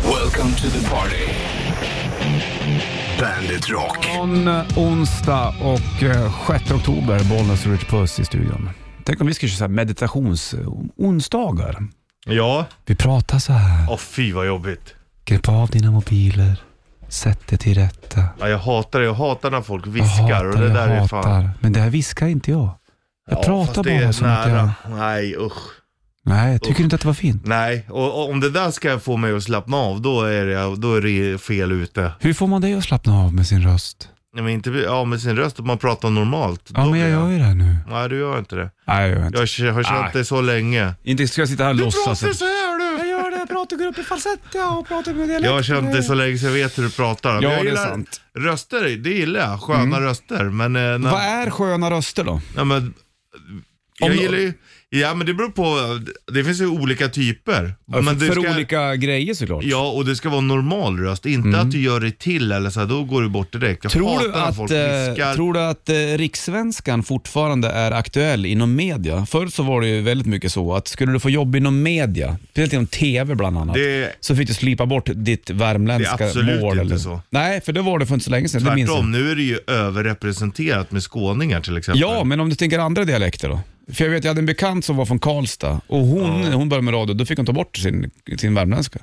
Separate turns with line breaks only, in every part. Welcome to the party. Bandit Rock.
Imorgon eh, onsdag och eh, 6 oktober, Bollnäs och Rich Puss i studion. Tänk om vi skulle köra så här eh, meditationsonsdagar.
Ja,
Vi pratar så här.
åh fy vad jobbigt.
Grip av dina mobiler. Sätt dig till rätta.
Ja, jag hatar det, jag hatar när folk
Jag
viskar och det
jag
där är fan...
Men det här viskar inte jag. Jag
Ja,
pratar
fast det är
bara som att jag...
Nej usch.
Nej, tycker du inte att det var fint?
Nej, och, och om det där ska få mig att slappna av då är det, då är det fel ute.
Hur får man dig att slappna av med sin röst?
Nej, men inte ja, med sin röst, om man pratar normalt.
Ja,
då
men
blir
jag gör ju det nu.
Nej du gör inte det.
Nej, jag gör inte.
Jag k- har känt
Nej.
det så länge.
Inte ska jag sitta här och
Du
låtsas.
pratar
att-
så här du!
Jag gör det, jag pratar, går upp i falsett ja, och pratar med dialekt.
Jag har känt det så länge så jag vet hur du pratar. Men
Ja,
jag
det är
gillar
sant. Mm.
Röster, det gillar jag. Sköna röster. Men, eh, när,
Vad är sköna röster då?
Ja, men, jag
Om-
gillar ju, ja men det beror på, det finns ju olika typer. men det
för
ska,
olika grejer såklart.
Ja, och det ska vara en normal röst, inte att du gör det till eller så här, då går du bort direkt. Jag
Mm. Tror du,
hatar när folk
att, eh,
viskar.
tror du att eh, rikssvenskan fortfarande är aktuell inom media? Förr så var det ju väldigt mycket så att skulle du få jobb inom media, speciellt inom TV bland annat,
Det-
så fick du slipa bort ditt värmländska
Det är absolut
mål.
inte
eller,
så.
Nej, för det var det för inte så länge sedan. Det minns jag.
Tvärtom, nu är det ju överrepresenterat med skåningar till exempel.
Ja, men om du tänker andra dialekter då? För jag vet, jag hade en bekant som var från Karlstad och hon, när hon började med radio, då fick hon ta bort sin, sin värmländska.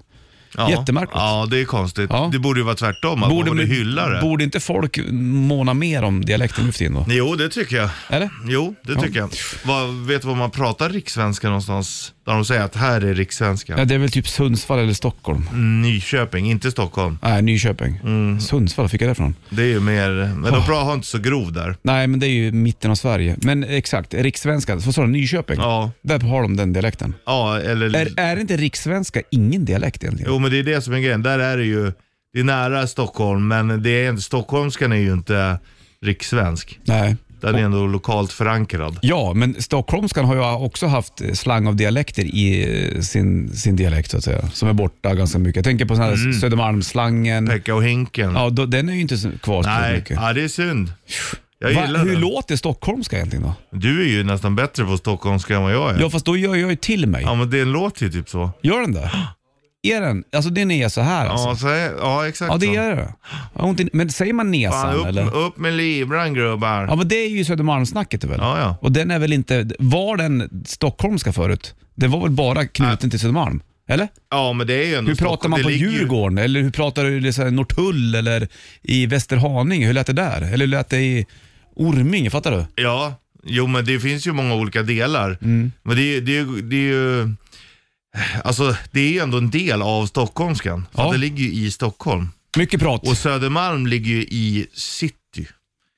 ja.
jättemärkligt.
Ja, det är konstigt.
Ja.
Det borde ju vara tvärtom, att borde man borde hylla det.
borde inte folk måna mer om dialekten nu för tiden då?
Jo, det tycker jag.
Eller?
Jo, det tycker jag. Vad- vet du var man pratar rikssvenska någonstans? Där de säger att här är rikssvenska.
Ja, det är väl typ Sundsvall eller Stockholm.
Mm. Nyköping, inte Stockholm.
Nej, Nyköping.
Mm.
Sundsvall fick jag det ifrån.
Det är ju mer, men de bra har inte så grov där.
Nej, men det är ju mitten av Sverige. Men exakt, rikssvenska. Vad sa du? Nyköping?
Ja,
Där har de den dialekten.
ja eller...
Är, är inte rikssvenska ingen dialekt egentligen?
Jo men det är det som är grejen, där är det ju, det är nära Stockholm men det är inte, stockholmskan är ju inte rikssvensk.
Nej.
Den är ändå lokalt förankrad.
Ja, men stockholmskan har ju också haft slang av dialekter i eh, sin, sin dialekt så att säga. Som är borta ganska mycket. Jag tänker på sån här
Mm.
Södermalmsslangen.
Pekka och Hinken.
Ja, då, den är ju inte så- kvar så
Nej,
mycket.
ja, det är synd. Jag
Va,
gillar
hur
den.
låter stockholmska egentligen då?
Du är ju nästan bättre på stockholmska än vad jag är.
Ja, fast då gör jag ju till mig.
Ja men det låter ju typ så.
Gör den det? Är den? Alltså den är så här alltså?
Ja, så är, ja exakt
Ja, det
så.
är det. Jag har ont i- Men säger man nesan
Fan,
eller?
upp, upp med libran grubbar.
Ja, men det är ju Södermalmssnacket väl?
Ja, ja.
Och den är väl inte... Var den stockholmska förut? Det var väl bara knuten till Södermalm? Eller?
Ja men det är ju ändå
Hur pratar
Stockholm.
man
Det
på
ligger ju-
Djurgården? Eller hur pratar du i så här Norrtull eller i Västerhaninge? Hur lät det där? Eller hur lät det i Orminge? Fattar du?
Ja, jo men det finns ju många olika delar.
Mm.
Men det, är- det, är- det är ju, alltså det är ju ändå en del av stockholmskan. För
Ja.
att det ligger ju i Stockholm.
Mycket prat.
Och Södermalm ligger ju i city.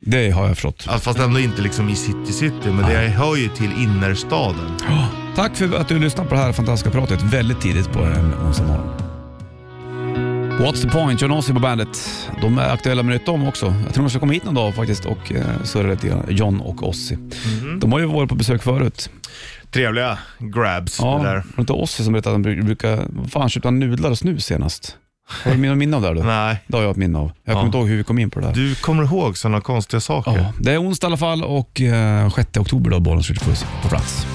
Det har jag förstått.
Alltså, Fast ändå inte liksom i city city, men det hör ju till innerstaden.
Tack för att du lyssnade på det här fantastiska pratet väldigt tidigt på en onsdag morgon. What's the point? John Ossie på bandet. De är aktuella med nytt om också. Jag tror de ska komma hit någon dag faktiskt och eh, surra lite grann. John och Ossie. De har ju varit på besök förut.
Trevliga grabs
Ja,
det
var
där.
det inte Ossie som berättade att han bru- brukar... Vad fan, köpte han nudlar och snus senast? Har du något minne av det? här, Du?
Nej,
Det har jag ett minne av. Jag kommer
Ja.
inte ihåg hur vi kom in på det där.
du kommer ihåg sådana konstiga saker.
Ja, det är onsdag i alla fall och eh, 6 oktober då, Bollens Ritchie Puss på plats.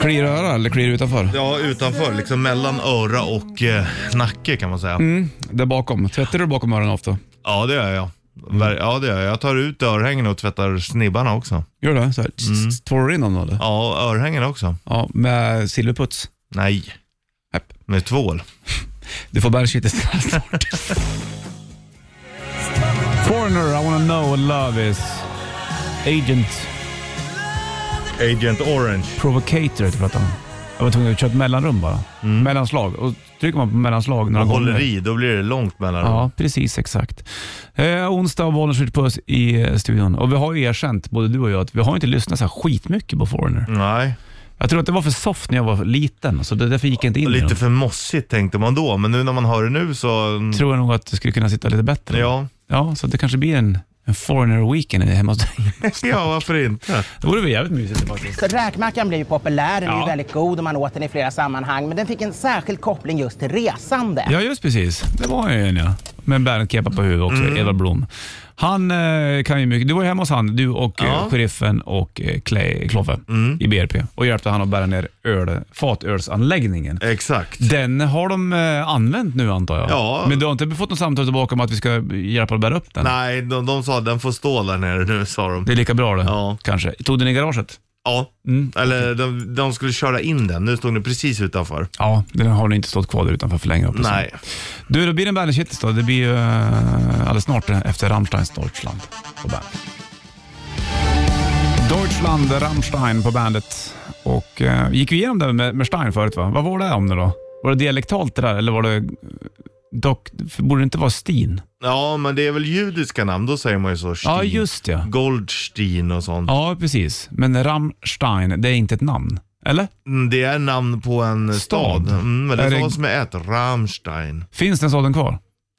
Kliar i öra eller kliar utanför?
Ja, utanför, liksom mellan öra och eh, nacke kan man säga.
Mm, Där bakom. Tvättar du bakom öronen ofta?
Ja, det gör jag.
Mm.
Ver- Ja, det gör jag. Jag tar ut örhängena och tvättar snibbarna också.
Gör du det? Så här, Tvålar du in dem då eller?
Ja, och örhängena också.
Ja, med silverputs.
Nej.
Nej.
Med tvål.
Du får bärskytte snart. Foreigner, I wanna know what love is. Agent
Agent Orange.
Provocator heter plattan. Jag var tvungen att köra ett mellanrum bara. Mellanslag. Och trycker man på mellanslag några
Mm. Och håller
gånger.
i, då blir det långt mellan dem.
Ja, precis exakt. Eh, onsdag och Bollnäs skjuter puss i eh, studion. Och vi har ju erkänt, både du och jag, att vi har inte lyssnat så här skitmycket på Foreigner.
Nej,
Jag tror att det var för soft när jag var liten, så det, därför gick jag inte in i
lite
dem.
för mossigt tänkte man då, men nu när man hör det nu så...
tror jag nog att det skulle kunna sitta lite bättre.
Ja,
Ja, så det kanske blir en, en foreigner weekend hemma hos dig.
ja varför inte?
Det vore väl jävligt mysigt faktiskt.
Räkmackan blir ju populär, den är
Ja.
ju väldigt god och man åt den i flera sammanhang. Men den fick en särskild koppling just till resande.
Ja, just precis. Det var ju en ja. med en Bernet-kepa på huvudet också, Edvard Blom. Han eh, kan ju mycket. Du var ju hemma hos han, du och
Ja.
eh, sheriffen och eh, Clay, Kloffe i BRP och hjälpte han att bära ner öl, fatölsanläggningen.
Exakt.
Den har de eh, använt nu antar jag?
Ja.
Men du har inte fått något samtal tillbaka om att vi ska hjälpa att bära upp den?
Nej, de, de sa den får stå där nere nu, sa de.
Det är lika bra det,
Ja.
kanske. Tog den i garaget?
Ja,
Mm.
eller de, de skulle köra in den. Nu stod den precis utanför.
Ja, den har nog inte stått kvar där utanför för länge. hoppas jag.
Nej.
Du, då blir det en Bandit Shitlist då. Det blir ju eh, alldeles snart eh, efter Rammsteins Deutschland på bandet. Deutschland, Rammstein på bandet. Och eh, gick vi igenom det med, med Stein förut va? Vad var det om det då? Var det dialektalt det där eller var det... eh, Dock, borde det inte vara Stin?
Ja, men det är väl judiska namn, då säger man ju så. Steen.
Ja, just ja.
Goldstein och sånt.
Ja, precis. Men Rammstein, det är inte ett namn. Eller?
Mm, Det är namn på en
Stad.
stad. Mm, men
Är
det
det-
stavas med ett. Rammstein.
Finns den staden kvar?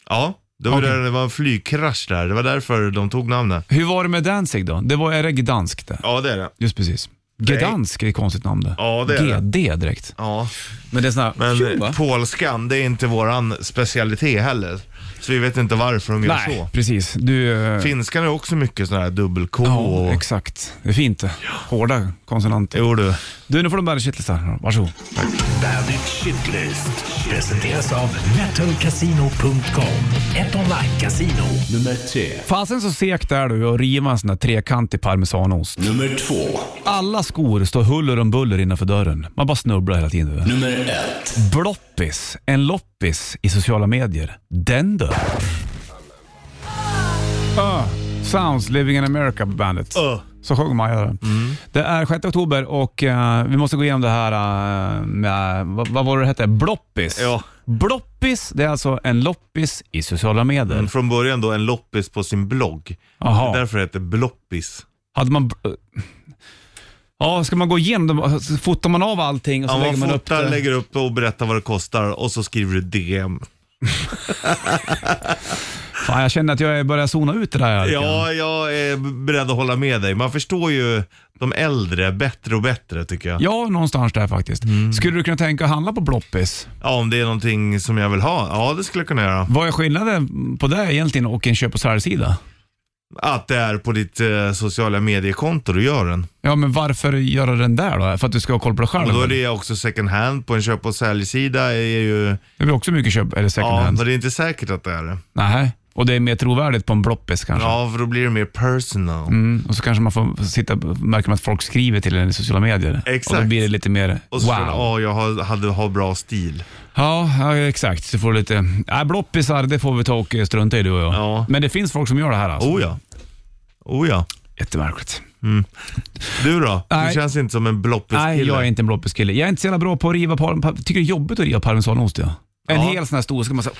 Ja, det var
Okej.
där det var en flygkrasch där. Det var därför de tog namnet.
Hur var det med Danzig då? Det var, är det Gdansk det?
Ja, det är det.
Just precis. Gdansk är ett konstigt namn det.
Ja, det är det.
GD direkt.
Ja,
Men det är sån här...
men
Tjo, va?
polskan, det är inte våran specialitet heller. Så vi vet inte varför de gör
Nej,
så.
precis. Du, eh,
Finskan är också mycket sådana här dubbel-K
ja,
och...
exakt. Det är fint det. Hårda konsonanter.
Jo du.
Du, nu får du bära kittlisar. Varsågod.
Bandit Shitlist presenteras av metalcasino.com. Ett online-casino. Nummer tre.
Fasen så segt är du att riva en sån där trekantig parmesanost.
Nummer två.
Alla skor står huller om buller innanför dörren. Man bara snubblar hela tiden. du.
Nummer ett.
Bloppis, en loppis i sociala medier. Den dör. Ö, Sounds Living in America på bandet.
Ö.
Så sjunger man gör det.
Mm.
Det är 6 oktober och eh, vi måste gå igenom det här eh, med, vad, vad var det det hette? Bloppis.
Ja.
Bloppis, det är alltså en loppis i sociala medier.
Men Från början då en loppis på sin blogg.
Aha.
Det är Därför heter det bloppis.
Hade man... Ja, ska man gå igenom dem? Så Fotar man av allting och så
Ja,
lägger
man
man upp
fotar,
det?
lägger upp och berättar vad det kostar och så skriver du DM.
Fan, jag känner att jag börjar zona ut det där. lite grann.
Ja, jag är beredd att hålla med dig. Man förstår ju de äldre bättre och bättre tycker jag. Ja,
Ja, någonstans där faktiskt.
Mm.
Skulle du kunna tänka att handla på Bloppis?
om det är någonting som jag vill ha. Ja, det skulle jag kunna göra.
Vad är skillnaden på det egentligen och en köp och säljsida?
Att det är på ditt eh, sociala mediekonto du gör den.
Ja, men varför göra den där då? För att du ska ha koll på dig själv?
Och då är
eller?
det också second hand på en köp och säljsida. Är ju,
Det blir också mycket köp eller second
ja,
hand.
men det är inte säkert att det är det.
Nej, och det är mer trovärdigt på en Bloppis kanske.
Ja, för då blir det mer personal.
Alltså. Mm, och så kanske man får sitta, märker man att folk skriver till en i sociala medier.
Exakt.
Och då blir det lite mer
Och så wow.
wow.
ja, jag har, hade, har bra stil.
Ja, ja, exakt. Så får du lite... Nej, bloppisar det får vi ta och strunta i du och jag.
Ja.
Men det finns folk som gör det här alltså.
Oh ja. Oh ja.
Jättemärkligt.
Du då?
Nej.
Du känns inte som en bloppiskille.
Nej, jag är inte en bloppiskille. Jag är inte så jävla bra på att riva par, par, Tycker det är jobbigt att riva parmesanost. Ja. En
Ja.
hel sån här stor ska man säga.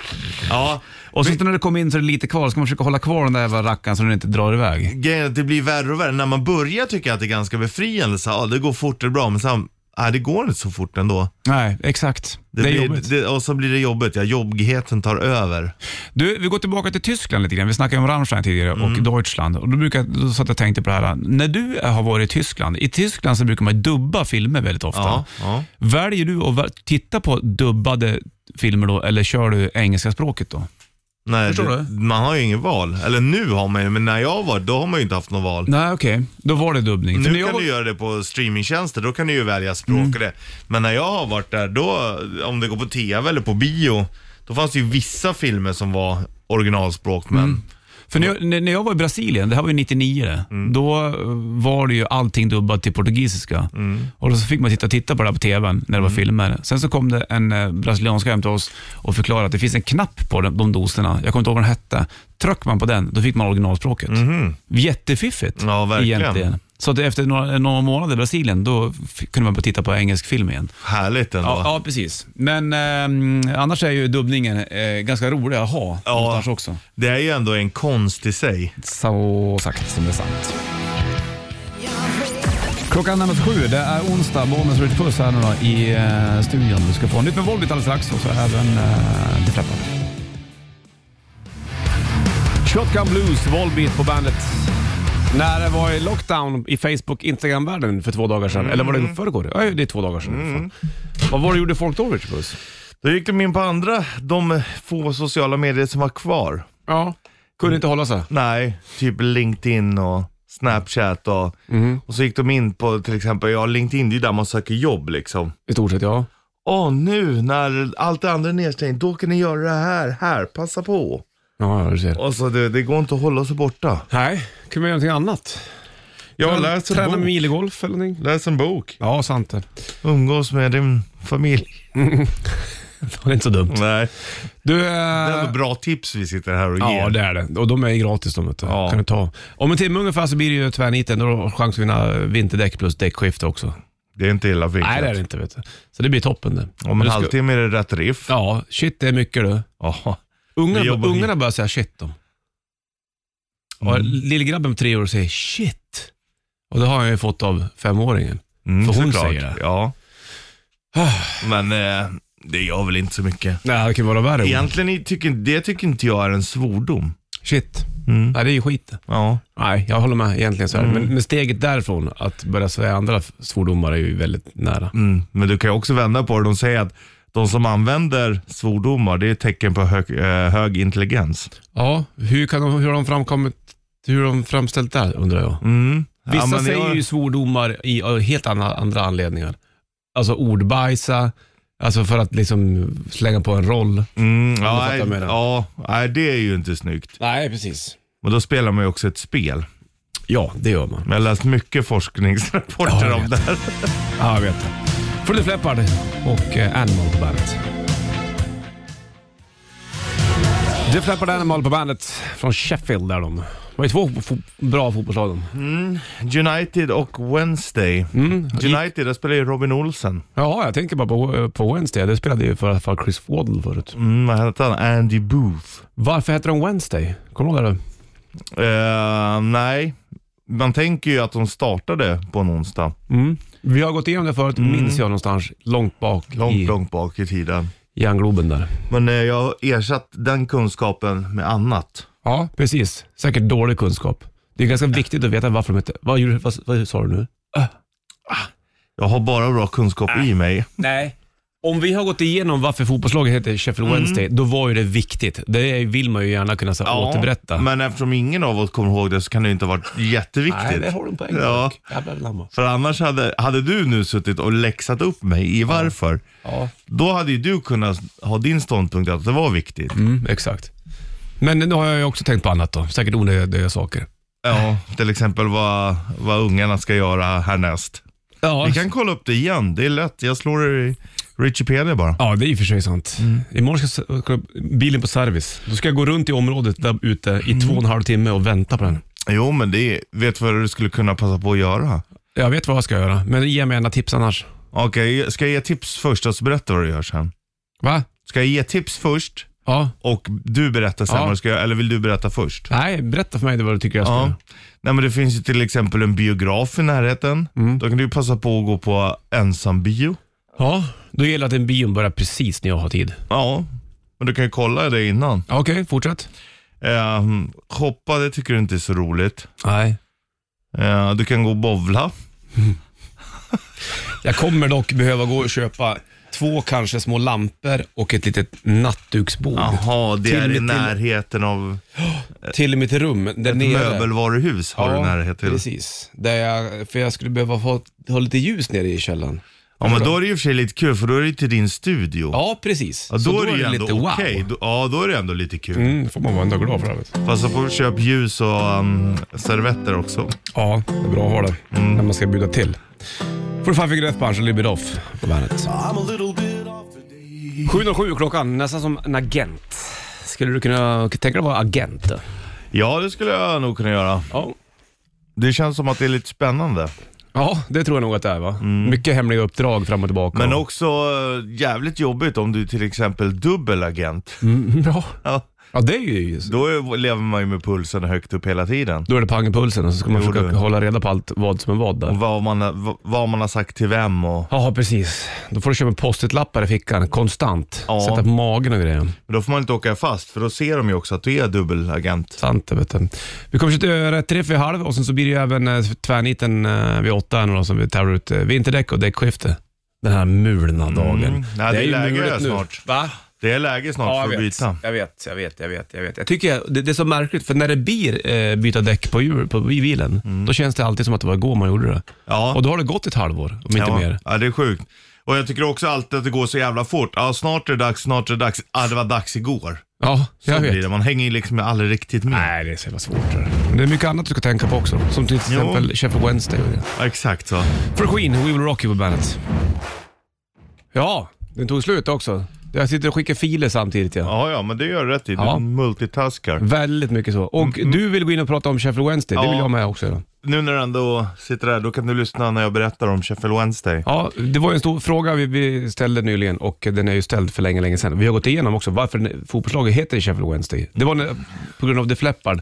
Ja,
Och så när det kommer in så är det lite kvar. Ska man försöka hålla kvar den där jävla rackaren så den inte drar iväg.
grejen är att det blir värre och värre. När man börjar tycker jag att det är ganska befriande. Så, ja, det går fort, det är bra. Men sen, nej, det går inte så fort ändå.
Nej, exakt. Det, är
blir,
jobbigt.
Det, och så blir det jobbigt. Ja, jobbigheten tar över.
Du, vi går tillbaka till Tyskland lite grann. Vi snackade om Rammstein tidigare och
Mm.
Deutschland. Och då, brukar, då satt jag och tänkte på det här. När du har varit i Tyskland, i Tyskland så brukar man ju dubba filmer väldigt ofta.
Ja, ja.
Väljer du att vä- titta på dubbade filmer då eller kör du engelska språket då?
Nej,
Förstår
det,
du?
Man har ju ingen val. Eller nu har man ju, men när jag var då har man ju inte haft något val.
Nej, okej. Då var det dubbning. För när
Nu
jag
kan
var- Mm.
du göra det på streamingtjänster, då kan du ju välja språk och det. Men när jag har varit där, då, om det går på tv eller på bio, då fanns det ju vissa filmer som var originalspråk, men
Mm. För när jag, när när jag var i Brasilien, det här var ju 99 det,
Mm.
då eh, var det ju allting dubbat till portugisiska.
Mm.
Och då så fick man titta, titta på det här på tvn när det var filmer. Sen så kom det en eh, brasilianska hem till oss och förklarade att det finns en knapp på de, de doserna, jag kommer inte ihåg vad den hette. Tryck man på den, då fick man originalspråket. Jättefiffigt
Mhm. Ja, verkligen.
egentligen. Så att efter några, några månader i Brasilien, då f- kunde man börja titta på engelsk film igen.
härligt ändå.
Ja, ja precis. Men eh, annars är ju dubbningen eh, ganska rolig att ha
Ja.
någonstans också.
Det är ju ändå en konst i sig.
Så sagt som det är sant. Klockan närmar sig sju. Det är onsdag. Bollnäs Ritchie Puss här nu då i eh, studion. Du ska få nytt med Volbit alldeles strax och så även eh, Depp Leppard.
Shotgun Blues, Volbeat på bandet. När det var i lockdown i Facebook
Mm.
Instagram-världen för två dagar sedan, eller var det förrgår? Ja, det är två dagar sedan. i alla fall. Vad var det gjorde folk då, Richard Puss?
Då gick de in på andra, de få sociala medier som var kvar.
Ja. Kunde inte hålla sig.
Nej, typ LinkedIn och Snapchat och,
Mm-hmm.
och så gick de in på till exempel, ja LinkedIn det är ju där man söker jobb liksom.
I stort sett, ja.
Åh nu när allt det andra är nedstängt, då kan ni göra det här, här, passa på.
Ja, ja, du ser.
Och så det, det går inte att hålla sig borta.
Nej, kunde man göra någonting annat?
Jag
Träna-
läser
Träna
bok.
minigolf eller någonting.
Läs en bok.
Ja, sant det.
Umgås med din familj.
Det är inte så dumt.
Nej,
Du,
det är
eh,
ändå bra tips vi sitter här och ger.
Ja, det är det. Och de är ju gratis de. Vet du.
Ja.
Kan du ta. Om en timme ungefär så blir det ju tvärniten. Då har du chans att vinna vinterdäck plus däckskifte också.
Det är inte illa vinklat.
Nej, det är det inte. Vet du. Så det blir toppen det.
Om
Men
en
du ska-
halvtimme är det rätt riff.
Ja, shit det är mycket du.
Ja.
Ungarna,
Vi jobbar
ungarna börjar säga shit de. Och Lillgrabben på tre år säger shit. Och det har han ju fått av femåringen.
Mm,
För hon
såklart.
säger det.
Ja. Men eh, det gör väl inte så mycket.
Nej, det kan vara värre.
Egentligen i- tycker, det tycker inte jag är en svordom.
Shit.
Mm.
Nej, det är ju skit
Ja.
Nej, jag håller med egentligen så här. Men, men steget därifrån, att börja säga andra svordomar är ju väldigt nära.
Mm. Men du kan ju också vända på det. De säger att de som använder svordomar, det är ett tecken på hög, eh, hög intelligens.
Ja, hur, kan de, hur har de framkommit, hur har de framställt det här undrar jag.
Mm.
Vissa
men
säger
jag-
ju svordomar i av helt andra, andra anledningar. Alltså ordbajsa, alltså för att liksom slänga på en roll.
Mm, ja,
fattar
nej,
vad jag menar.
ja, nej, det är ju inte snyggt.
Nej, precis.
Men då spelar man ju också ett spel.
Ja, det gör man.
Men jag har läst mycket forskningsrapporter
Ja, jag
om
vet.
det här.
Ja, jag vet det. Freddy Fleppard och eh, Animal på bandet. Det Fleppard Animal på bandet från Sheffield där de. Det var ju två fo- bra fotbollslag de.
United och Wednesday.
Mm,
United, där spelar ju Robin Olsen.
Ja, jag tänker bara på, eh, på Wednesday. Det spelade ju för i alla fall Chris Waddle förut.
Mm, vad hette han? Andy Booth.
Varför heter de Wednesday? Kommer du ihåg det? du?
Eh, nej, man tänker ju att de startade på en onsdag.
Vi har gått igenom det förut, minns jag någonstans. Mm. Långt bak
Långt,
i
långt bak i tiden.
järngloben där.
Men eh, jag har ersatt den kunskapen med annat.
Ja, precis. Säkert dålig kunskap. Det är ganska viktigt att veta varför de heter... Vad, gjorde- vad, vad sa du nu?
Jag har bara bra kunskap i mig.
Nej. Om vi har gått igenom varför fotbollslaget heter Sheffield
Mm.
Wednesday, då var ju det viktigt. Det vill man ju gärna kunna så,
Ja,
återberätta.
Men eftersom ingen av oss kommer ihåg det så kan det ju inte ha varit jätteviktigt.
Nej, det har du en poäng
Ja.
dock. Jävlar anamma.
För annars hade, hade du nu suttit och läxat upp mig i varför,
Ja,
då hade ju du kunnat ha din ståndpunkt att det var viktigt.
mm, exakt. Men nu har jag ju också tänkt på annat då. Säkert onödiga saker.
Ja, till exempel vad, vad ungarna ska göra härnäst.
Ja,
Vi kan kolla upp det igen, det är lätt. Jag slår det i Wikipedia bara.
ja det är i och för sig sant.
Mm.
Imorgon ska jag åka upp bilen på service. Då ska jag gå runt i området där ute i
Mm.
två och en halv timme och vänta på den.
Jo, men det vet du vad du skulle kunna passa på att göra?
Jag vet vad jag ska göra, men ge mig gärna tips annars.
Okej, ska jag ge tips först och så berätta vad du gör sen?
Va?
Ska jag ge tips först
Ja.
och du berättar sen
Ja.
vad du ska göra, eller vill du berätta först?
Nej, berätta för mig vad du tycker jag ska
Ja.
göra.
Nej, men det finns ju till exempel en biograf i närheten.
Mm.
Då kan du ju passa på att gå på ensam bio.
Ja, då gäller det att en bion börjar precis när jag har tid.
Ja, men du kan ju kolla det innan.
Ja, Okej, fortsätt.
Eh, hoppa, det tycker du inte är så roligt.
Nej.
Eh, du kan gå och bowla.
Jag kommer dock behöva gå och köpa två kanske små lampor och ett litet nattduksbord
Jaha, det
Till
är i
mitt-
närheten av
till mitt rum. Där
ett
nere.
möbelvaruhus. Har du närhet till.
precis. Där jag, för jag skulle behöva ha, ha lite ljus nere i källaren.
Ja, men då är det ju för sig lite kul för då är det ju till din studio.
Ja, precis.
Ja, då,
Så
är det ju ändå
wow.
okej. Då- Ja, då är det ändå lite kul.
Mm, får man vara ändå glad för. Det.
Passa på att köpa ljus och um, servetter också.
Ja, det är bra att ha det när man ska bjuda till. Får du fan fick rätt på Angel Libid Off på bandet. 7.07 klockan, nästan som en agent. Skulle du kunna tänka dig vara agent? då?
Ja, det skulle jag nog kunna göra.
Ja.
Det känns som att det är lite spännande.
Ja, det tror jag nog att det är va? Mycket hemliga uppdrag fram och tillbaka.
Mm. Men
och-
också eh, jävligt jobbigt om du till exempel dubbel agent.
Mm, ja.
Ja,
ja, det är ju...
då är, lever man ju med pulsen högt upp hela tiden.
Då är det pang i pulsen och så ska man
Jo,
försöka
du.
hålla reda på allt vad som är vad
Och
där.
vad man, har- v- vad man har sagt till vem och...
Ja, precis. Då får du köpa post-it-lappar i fickan konstant.
Ja.
Sätta på magen och grejer.
Men Då får man inte åka fast för då ser de ju också att du är dubbelagent.
Sant det vet du. Vi kommer köra rätt riff vid halv och sen så blir det ju även eh, tvärniten eh, vid åtta här nu då, som vi tävlar ut eh, vinterdäck och däckskifte. den här mulna dagen.
Mm. Nej, det är läge
mulet nu.
snart.
Va?
Det är läge snart
Ja, jag
för att
vet.
byta.
Jag vet, jag vet, jag vet, jag vet. Jag tycker jag, det, det är så märkligt, för när det blir eh, byta däck på, hjul, på i bilen, då känns det alltid som att det var igår man gjorde det.
Mm. Ja.
Och då har det gått ett halvår, om inte
ja.
mer.
Ja, det är sjukt. Och jag tycker också alltid att det går så jävla fort. Ja, snart är det dags, snart är det dags. Ja, det var dags igår.
Ja,
Så
jag
blir
vet.
det. Man hänger liksom aldrig riktigt med.
Nej, det är så jävla svårt. det där. Det är mycket annat du ska tänka på också. Som till exempel Sheffield Wednesday. och det.
Exakt så.
För Queen, We Will Rock You på bandet. Ja, den tog slut också. Jag sitter och skickar filer samtidigt. Ja.
Ja, ja, men det gör rätt i. Du
Ja.
multitaskar.
Väldigt mycket så. Och du vill gå in och prata om Sheffield Wednesday. Det
Mm. Ja.
vill jag med också. Då.
Nu när du ändå sitter där, då kan du lyssna när jag berättar om Sheffield Wednesday.
Ja, det var ju en stor fråga vi, vi ställde nyligen och den är ju ställd för länge, länge sedan. Vi har gått igenom också varför den- fotbollslaget heter Sheffield Wednesday. Det var när, på grund av The Flappard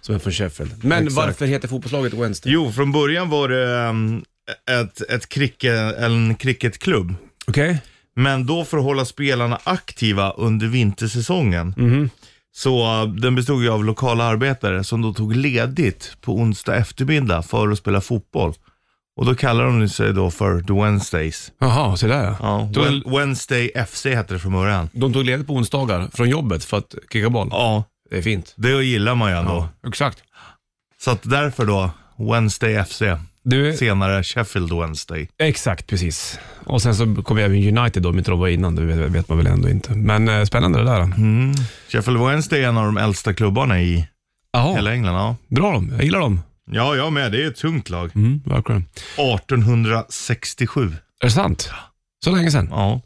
som är från Sheffield. Men varför heter fotbollslaget Wednesday?
Jo, från början var det ehm, ett, ett cricket, en cricketklubb.
Okej?
Men då för att hålla spelarna aktiva under vintersäsongen. Så eh, den bestod ju av lokala arbetare som då tog ledigt på onsdag eftermiddag för att spela fotboll. Och då kallar de sig då för The Wednesdays.
Jaha, så där
Ja,
Då-
Wen- Wednesday FC hette det från början.
De tog ledigt på onsdagar från jobbet för att kicka boll.
Ja,
Det är fint.
det gillar man ju ändå.
Exakt.
Så att därför då, Wednesday FC.
Du,
Senare Sheffield Wednesday.
exakt precis. Och sen så kom jag även United då, om inte de var innan. Det vet, vet man väl ändå inte. Men eh, spännande det där. då.
Mm. Sheffield Wednesday är en av de äldsta klubbarna i
Jaha,
hela England. Ja.
bra de. Jag gillar dem.
ja, jag med. Det är ett tungt lag.
Mm, verkligen.
1867.
Är det sant? Så länge sedan?
Ja.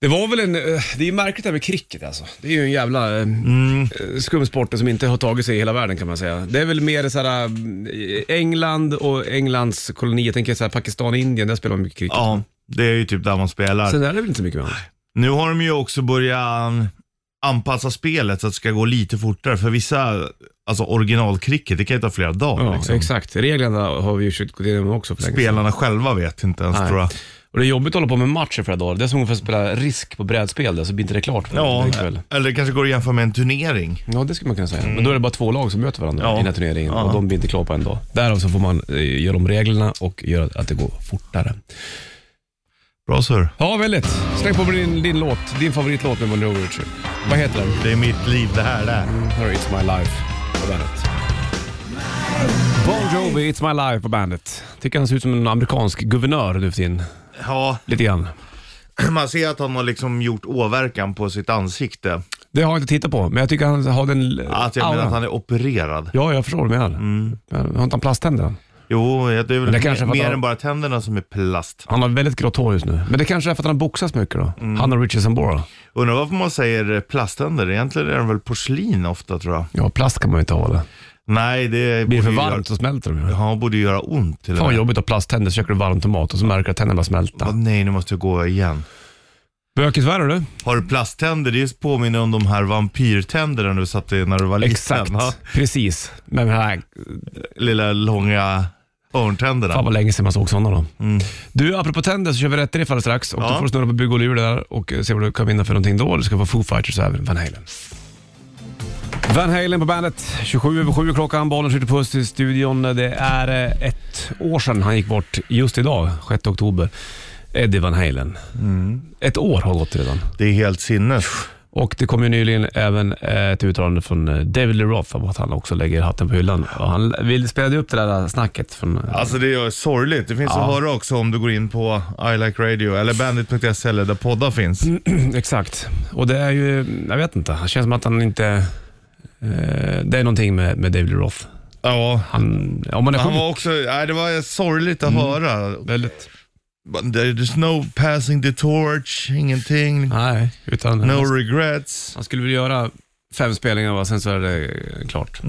Det var väl en, eh, det är ju märkligt det här med cricket alltså. Det är ju en jävla eh,
Mm.
eh, skumsport som inte har tagit sig i hela världen kan man säga. Det är väl mer såhär eh, England och Englands kolonier, jag tänker såhär Pakistan och Indien, där spelar man mycket cricket.
ja, det är ju typ där man spelar.
Sen är det väl inte så mycket med annat.
Nu har de ju också börjat anpassa spelet så att det ska gå lite fortare. För vissa, alltså originalkricket, det kan ju ta flera dagar.
Ja,
liksom.
exakt. Reglerna har vi ju försökt gå igenom också för länge sedan.
Spelarna själva vet inte ens
Nej.
tror jag.
Och det är jobbigt att hålla på med matcher flera dagar. Det är som ungefär att spela risk på brädspel där, så blir inte det klart på
Ja,
en kväll.
eller det kanske går att jämföra med en turnering.
Ja, det skulle man kunna säga. Men då är det bara två lag som möter varandra
Ja.
i den här turneringen och
Ja.
de blir inte klara på en dag. Därav så får man eh, göra om reglerna och göra att det går fortare.
Bra sur.
Ja, väldigt. Släng på din, din låt, din favoritlåt med Bon Jovi Richard. Vad heter den?
Det är mitt liv det här det.
Här är It's My Life på bandet. Bon Jovi, It's My Life på bandet. Tycker han ser ut som en amerikansk guvernör nu för tiden.
Ja,
Lite grann.
man ser att han har liksom gjort åverkan på sitt ansikte.
Det har jag inte tittat på, men jag tycker han har den...
Att jag menar
auran.
att han är opererad.
Ja, jag förstår vad du menar. Men Har inte han plasttänder? han?
Jo, det är väl
det kanske är för att
mer
han-
än bara tänderna som är plast.
Han har väldigt grått hår just nu. Mm. Men det kanske är för att han boxas mycket då. Han och Richard Sambora.
Undrar varför man säger plasttänder. Egentligen är de väl porslin ofta tror jag.
Ja, plast kan man ju inte ha det.
Nej, det
Blir det för
borde ju
varmt så smälter de ju.
Göra... Ja, borde ju göra ont till
Fan
och
vad
med.
jobbigt att ha plasttänder, så käkar du varm tomat och så märker du att tänderna
Åh,
smälta.
nej, nu måste jag gå igen.
Bökigt värre du.
Har du plasttänder? Det påminner om de här vampyrtänderna du satte när du var liten.
Exakt,
va?
precis. Men här,
Lilla långa örntänderna.
fan vad länge sedan man såg sådana då. Du, apropå tänder så kör vi rätt riff alldeles strax och
Ja.
du får snurra på bygg och lur där och eh, se vad du kan vinna för någonting då. Du ska få Foo Fighters och även Van Halen. Van Halen på bandet. 27 över 7 klockan, bollen skjuter puss i studion. Det är eh, ett år sedan han gick bort just idag, 6 oktober. Eddie Van Halen. Ett år har gått redan.
Det är helt sinnes.
Och det kom ju nyligen även eh, ett uttalande från eh, David Lee Roth om att han också lägger hatten på hyllan. Och han vill spelade ju upp det där snacket från... eh,
Alltså det är sorgligt. Det finns att höra också om du går in på I like radio eller bandit.se eller där poddar finns.
Mm. Exakt. Och det är ju, jag vet inte, det känns som att han inte... Eh, det är någonting med, med David Lee Roth.
Ja,
Han, om man är
han
sjuk.
var också, nej, det var sorgligt
Mm.
att höra.
Väldigt.
There's no passing the torch, ingenting,
Nej, utan
no
han,
regrets.
han skulle väl göra fem spelningar va, sen så är det eh, klart.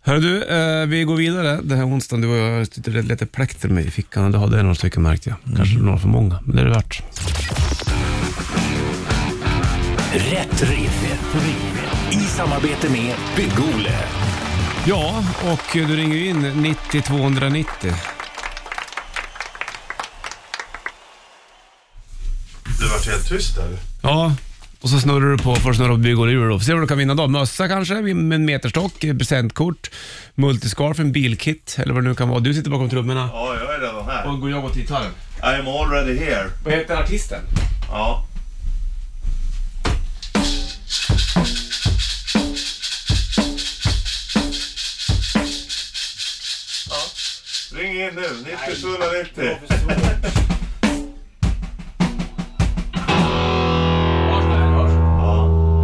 Hörru du, eh, vi går vidare den här onsdagen. Du och jag sitter och letar plektrum i fickan. Du hade några stycken märkte jag. Kanske några för många, men det är det värt.
Rätt riff. Rätt riff. I samarbete med Bygg-Ole.
Ja, och du ringer ju in 90 290.
Du vart helt tyst där.
Ja, och så snurrar du på för att snurra på bygg och lur. då. Får se vad du kan vinna då. Mössa kanske, med en meterstock, eh, presentkort, multiscarf, en bilkit eller vad det nu kan vara. Du sitter bakom trummorna
Oh, Ja, jag är redan här.
Oh. och går jag åt gitarren.
I'm already here. Oh.
Vad heter artisten?
Ja. Ja. Oh. Ring in nu, 90 290. Ja.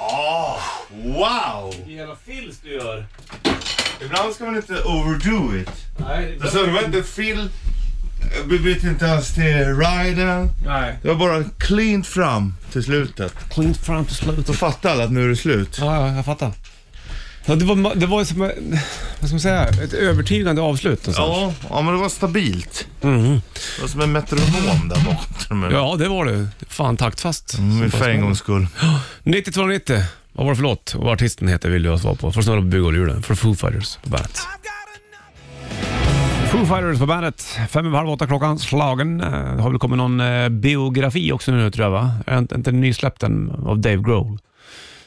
Ah, wow!
Jävla fills du gör.
Ibland ska man inte overdo it.
Nej.
Alltså det var inte fel. Vi bytte inte ens till riden.
Nej.
Det var bara cleant fram till slutet.
Clean fram till slut.
Då fattar alla att nu är det slut.
Ja, ja, jag fattar. Ja, det var, det var som, eh, vad ska man säga, ett övertygande avslut. Alltså.
Ja, ja men det var stabilt. Det var som en metronom där bakom. Ja.
Mm. ja, det var det. Fan taktfast.
Mm, för en gångs skull.
9290. Vad var det för låt och vad artisten heter vill du ha svar på. Får snurra på bygghjulen. För Foo Fighters på bandet. Foo Fighters på bandet. Fem över halv åtta klockan slagen. Eh, Det har väl kommit någon eh, biografi också nu tror jag va? Är inte- inte nysläppt den av Dave Grohl?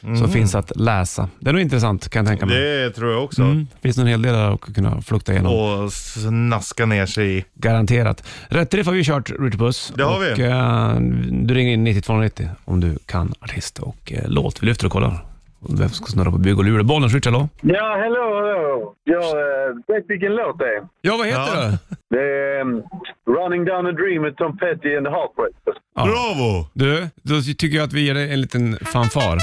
Mm.
Som finns att läsa. Det är nog intressant kan jag tänka mig.
Det tror jag också.
Mm. finns en hel del där att kunna flukta igenom.
Och snaska ner sig i.
Garanterat. Rätt drift har vi kört, Ritchie Puss.
Det har
och,
vi.
eh, du ringer in 9290 om du kan artist och eh, låt. Vi lyfter och kollar om vem som ska snurra på bygg och lura. Bollnäs, Ritchie, hallå?
Ja, hello, hello. Jag eh, vet vilken låt det är.
Ja, vad
heter
det?
Det är ehm, Running Down a Dream med Tom Petty and the Heartbreakers.
Bravo!
Du, då tycker jag att vi ger dig en liten fanfar.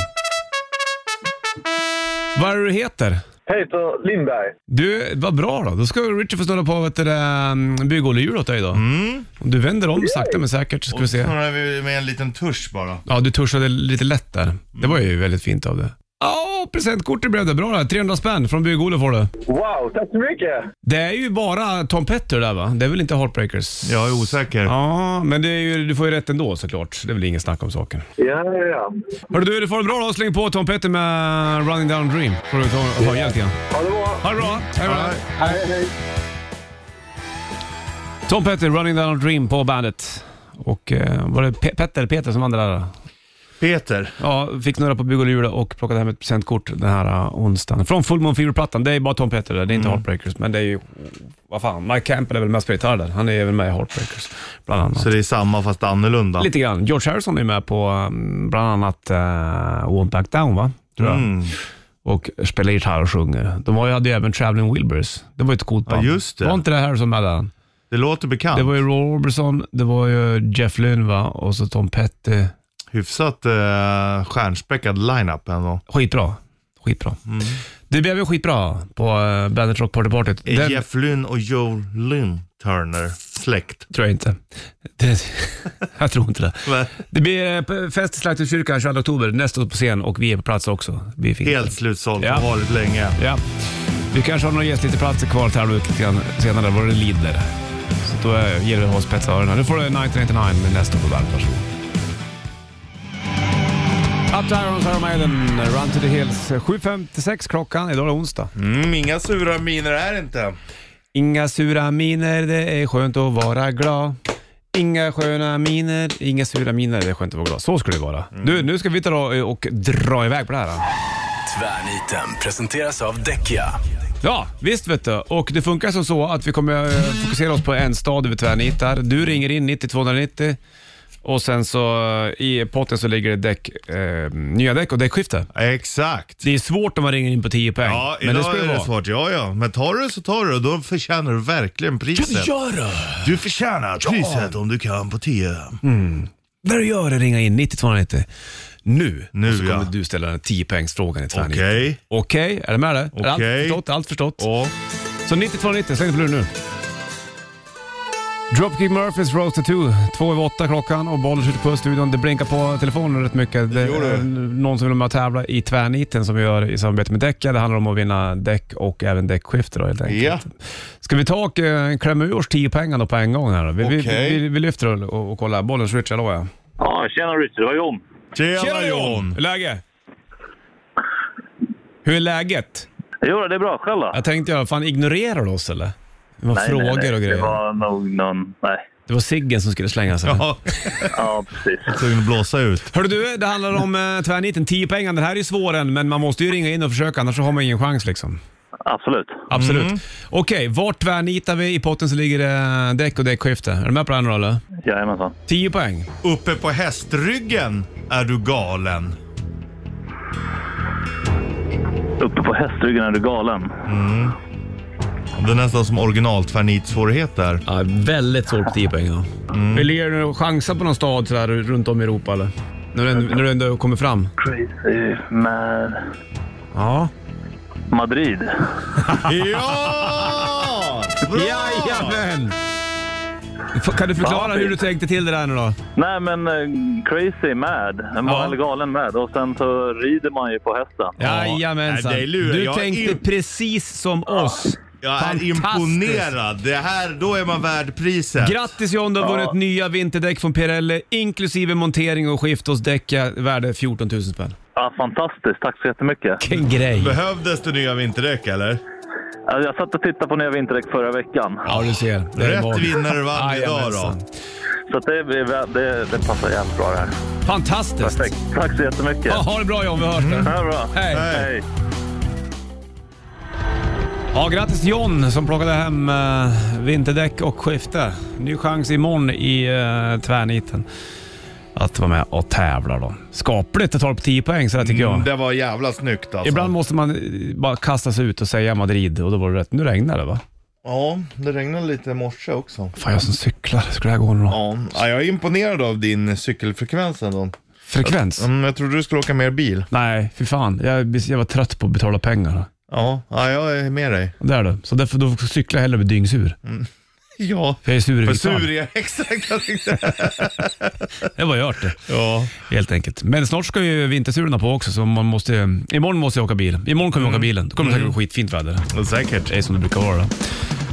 Vad är det du heter?
Peter Lindberg.
Du, vad bra då. Då ska Richard få snurra på vet du, det, mm, bygg och lura åt dig då. Om du vänder om sakta men säkert så ska vi
Mm. Och
se.
snurrar vi med en liten tusch bara.
Ja, du tuschade lite lätt där. Det var
Mm.
ju väldigt fint av dig. Ja, presentkortet blev det. Bra där. 300 spänn från Bygg-Ole får du.
Wow, tack så mycket!
Det är ju bara Tom Petter där va? Det är väl inte Heartbreakers?
Jag är osäker.
Ja, men det är ju, du får ju rätt ändå såklart. Det är väl ingen snack om saken.
Ja, ja, ja.
Hörru du, det får det bra då. Släng på Tom Petter med Running Down Dream. Får du ta och höja lite grann.
Ha det bra!
Ha det bra. Hej då.
Hej.
Hej, hej!
Tom Petter, Running Down Dream på bandet. Och eh, var det Pe- Petter, Peter som vann det där?
Peter.
Ja, fick snurra på Bygg och Lula och plockade hem ett presentkort den här uh, onsdagen. Från Full Moon Fever-plattan. Det är bara Tom Petter där, det är inte
Mm.
Heartbreakers. Men det är ju, vad fan, Mike Campbell är väl mest på gitarr där. Han är även med i Heartbreakers, bland annat.
Så det är samma fast annorlunda.
Lite grann. George Harrison är med på um, bland annat uh, Won't Back Down, va? Tror jag.
Mm.
Och spelar gitarr och sjunger. De var ju, hade ju även Traveling Wilburys. Det var ju ett coolt band.
just det.
Var inte det Harrison med där?
Det låter bekant.
Det var ju Roy Orbison, det var ju Jeff Lynne va? och så Tom Petty.
Hyfsat eh, stjärnspäckad line-up ändå.
Skitbra. Skitbra. Det blev ju skitbra på uh, Bandet Rock Party Partyt.
Är
Den
Jeff Lynne och Joe Lynn Turner släkt?
tror jag inte. Det, jag tror inte det.
Nej.
Det blir eh, p- fest i Slakthuskyrkan 22 oktober. Nästa på scen och vi är på plats också. Vi är fint.
Helt slutsålt
Ja.
och varit länge.
Ja. Vi kanske har några gästliterplatser kvar att tävla ut lite grann senare vad det lider. Så då eh, gäller det att ha spets i öronen. Nu får du 1999 med nästa på bandet. Varsågod. Up to Irons, Iron Maiden, Run to the Hills. 7.56 klockan. Idag är det onsdag.
Mm, inga sura miner är det inte.
Inga sura miner, det är skönt att vara glad. Inga sköna miner, inga sura miner, det är skönt att vara glad. Så skulle det vara.
Mm.
Du, nu ska vi ta eh, och, och dra iväg på det här.
Tvärniten presenteras av Däckia.
Ja, visst vet du. Och det funkar som så att vi kommer eh, fokusera oss på en stad över tvärnitar. Du ringer in 90 290 Och sen så eh, i potten så ligger det däck, eh, nya däck och däckskifte.
Exakt.
Det är svårt om man ringer in på 10 poäng.
Ja,
men
idag
det ska
är
det
det
vara.
svårt. Ja, ja. Men tar du det så tar du det och då förtjänar du verkligen priset.
Gör det!
Du förtjänar priset om du kan på 10.
Mm. När du gör det, ringa in 9290. Nu,
Nu,
och så kommer
ja.
du ställa den 10-poängsfrågan i träning.
Okej.
Okej, är du med där? Är
Okej.
Allt förstått? Allt förstått?
Ja.
Så 9290, släng det på luren nu. Dropkick Murphys Road to Two. Två över åtta klockan och bollen skjuter på studion. Det blinkar på telefonen rätt mycket. Det
Jo, det.
är någon som vill vara med och tävla i tvärniten som vi gör i samarbete med Däcka. Det handlar om att vinna däck och även däckskifte då helt enkelt.
Ja.
Ska vi ta och eh, klämma ur oss 10 pengar då på en gång här då? Vi, vi-
Okej.
vi, vi, vi lyfter och, och, och kollar. Bollen switch, hallå ja.
Ja, tjena Richard, det var John.
Tjena John!
Hur är läget? Hur är läget?
Jo, det är bra. Själv då?
Jag tänkte jag, fan ignorerar du oss eller? Det var frågor och grejer.
Det var nog någon... Nej.
Det var Siggen som skulle slänga sig.
Ja,
Ja, precis.
tvungen att blåsa ut.
Hörru du, det handlar om eh, tvärniten. 10 pengar. Den här är ju svår än, men man måste ju ringa in och försöka annars så har man ingen chans liksom.
Absolut.
Absolut.
Mm.
Okej, vart tvärnitar vi? I potten så ligger det eh, däck och däckskifte. Är du med på det här nu då, eller?
Jajamensan.
10 poäng.
Uppe på hästryggen är du galen.
Uppe på hästryggen är du galen.
Det är nästan som originaltvernitsvårighet där.
Ja, väldigt svårt på 10 poäng. Ja. Mm. Vill du ge chansa på någon stad sådär runt om i Europa eller? När du, när du ändå kommer fram?
Crazy man.
Ja.
Madrid.
Ah!
Ja! Bra!
Jajamän! F- Kan du förklara
Vad
hur du
fint.
tänkte till det där nu då?
Nej, men eh, crazy mad. En
Ja.
ja. galen mad. Och sen så rider man ju på hästen.
Jajamensan.
nej, det är lurig.
Du
Jag är
tänkte
im-
precis som oss.
Jag är
Fantastiskt.
imponerad. Det här, då är man värd priset.
Grattis John, du har
Ja.
vunnit nya vinterdäck från Pirelli inklusive montering och skift hos Däcka värde 14 000 spänn.
Ja, fantastiskt. Tack så jättemycket.
Vilken
Mm.
grej!
Behövdes det nya vinterdäck eller?
Ja, Alltså, Jag satt och tittade på nya vinterdäck förra veckan.
Ja, du ser. Det
Rätt
var-
vinnare vann idag då.
Jajamensan.
Så att det, blir vä- det, det passar jävligt bra det här.
Fantastiskt!
Perfekt. Tack så jättemycket.
Ja, ha det bra John, vi hörs. Mm.
Ja, bra.
Hej.
Hej.
Ja, grattis till John som plockade hem eh, vinterdäck och skifte. Ny chans imorgon i eh, tvärniten att vara med och tävla då. Skapligt att ta det på 10 poäng sådär tycker jag.
Mm, det var jävla snyggt alltså.
Ibland måste man eh, bara kasta sig ut och säga Madrid och då var det rätt. Nu regnar det va?
Ja, det regnade lite i morse också.
Fan, jag som cyklar. Ska det här gå nu då?
Ja, ja, jag är imponerad av din cykelfrekvens ändå.
Frekvens?
Mm, jag trodde du skulle åka mer bil.
Nej, fy fan. Jag, jag var trött på att betala pengar.
Ja, ja jag är med dig.
Där du. Så därför då cyklar jag hellre med dyngsur.
Ja.
För jag är sur i
Mm. För
vittan.
sur är jag exakt. jag tänkte-
Det var gjort det.
ja.
Helt enkelt. Men snart ska ju vintersurorna på också, så man måste, imorgon måste jag åka bil. Imorgon kommer jag åka bilen. Då kommer det säkert bli skitfint väder.
Säkert.
Det är som det brukar vara. då.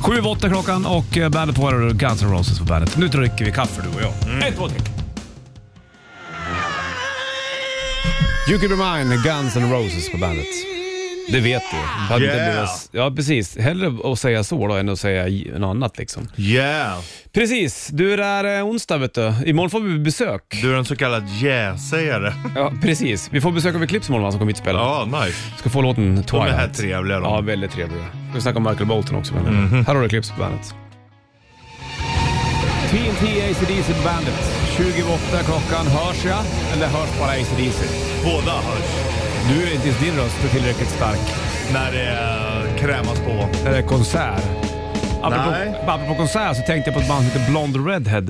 Sju, åtta klockan och eh, bandet på är Guns N' Roses på bandet. Nu dricker vi kaffe du och jag. Ett, två, tre. You could be mine, Guns N' Roses på bandet. Det vet du. För att det
Yeah.
blir oss- Ja, precis. Hellre att säga så då än att säga i- något annat liksom.
Yeah.
Precis. Du, det är eh, onsdag vet du. Imorgon får vi besök.
Du är en så kallad yeah-sägare.
Ja, precis. Vi får besök av Eclipse imorgon, va, som kommer hit och spelar.
Ja, nice.
alltså, Ska få låten Twilight.
De är här trevliga
Ja,
de.
väldigt trevliga. Ska vi snacka om Michael Bolton också. Men
Mhm.
Här har du Eclipse på bandet. TNT ACDC på bandet. 28 klockan. Hörs jag? Eller hörs bara ACDC?
Båda hörs
Du är inte ens din röst är tillräckligt stark.
när det eh, krämas på.
Det här är konsert. Apropå,
Nej.
apropå konsert så tänkte jag på ett band som heter Blond Redhead.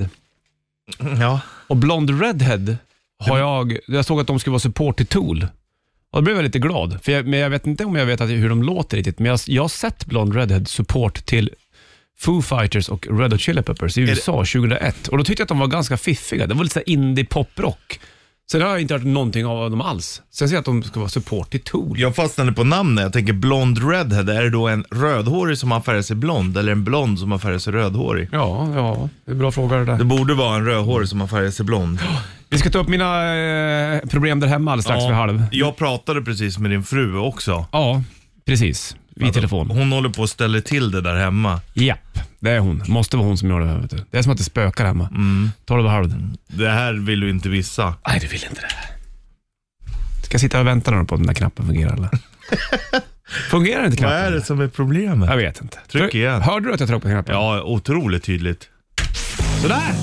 Ja.
Och Blond Redhead har jag... Jag såg att de skulle vara support till Tool. Och då blev jag lite glad. För jag, men jag vet inte om jag vet att, hur de låter riktigt, men jag, jag har sett Blond Redhead support till Foo Fighters och Red Hot Chili Peppers i USA 2001. Och då tyckte jag att de var ganska fiffiga. Det var lite så här indie poprock. Sen har jag inte hört någonting av dem alls. Sen ser jag att de ska vara support till Tool.
Jag fastnade på namnet. Jag tänker blond redhead. Är det då en rödhårig som har färgat sig blond eller en blond som har färgat sig rödhårig?
Ja, ja. Det är en bra fråga det där.
Det borde vara en rödhårig som har färgat sig blond.
Vi ska ta upp mina eh, problem där hemma alldeles strax vid halv.
Jag pratade precis med din fru också.
Ja, precis. Vid telefon.
Hon håller på att ställa till det där hemma.
Japp, det är hon. Måste vara hon som gör det här. Vet du. Det är som att det spökar hemma. Mm. Tolv och halv.
Det här vill du inte vissa.
Nej, du vill inte det. Ska jag sitta och vänta nu på om den där knappen fungerar eller? fungerar inte
Vad
knappen?
är det som är problemet?
Jag vet inte.
Tryck igen.
Hörde du att jag tryckte på knappen?
Ja, otroligt tydligt.
Sådär!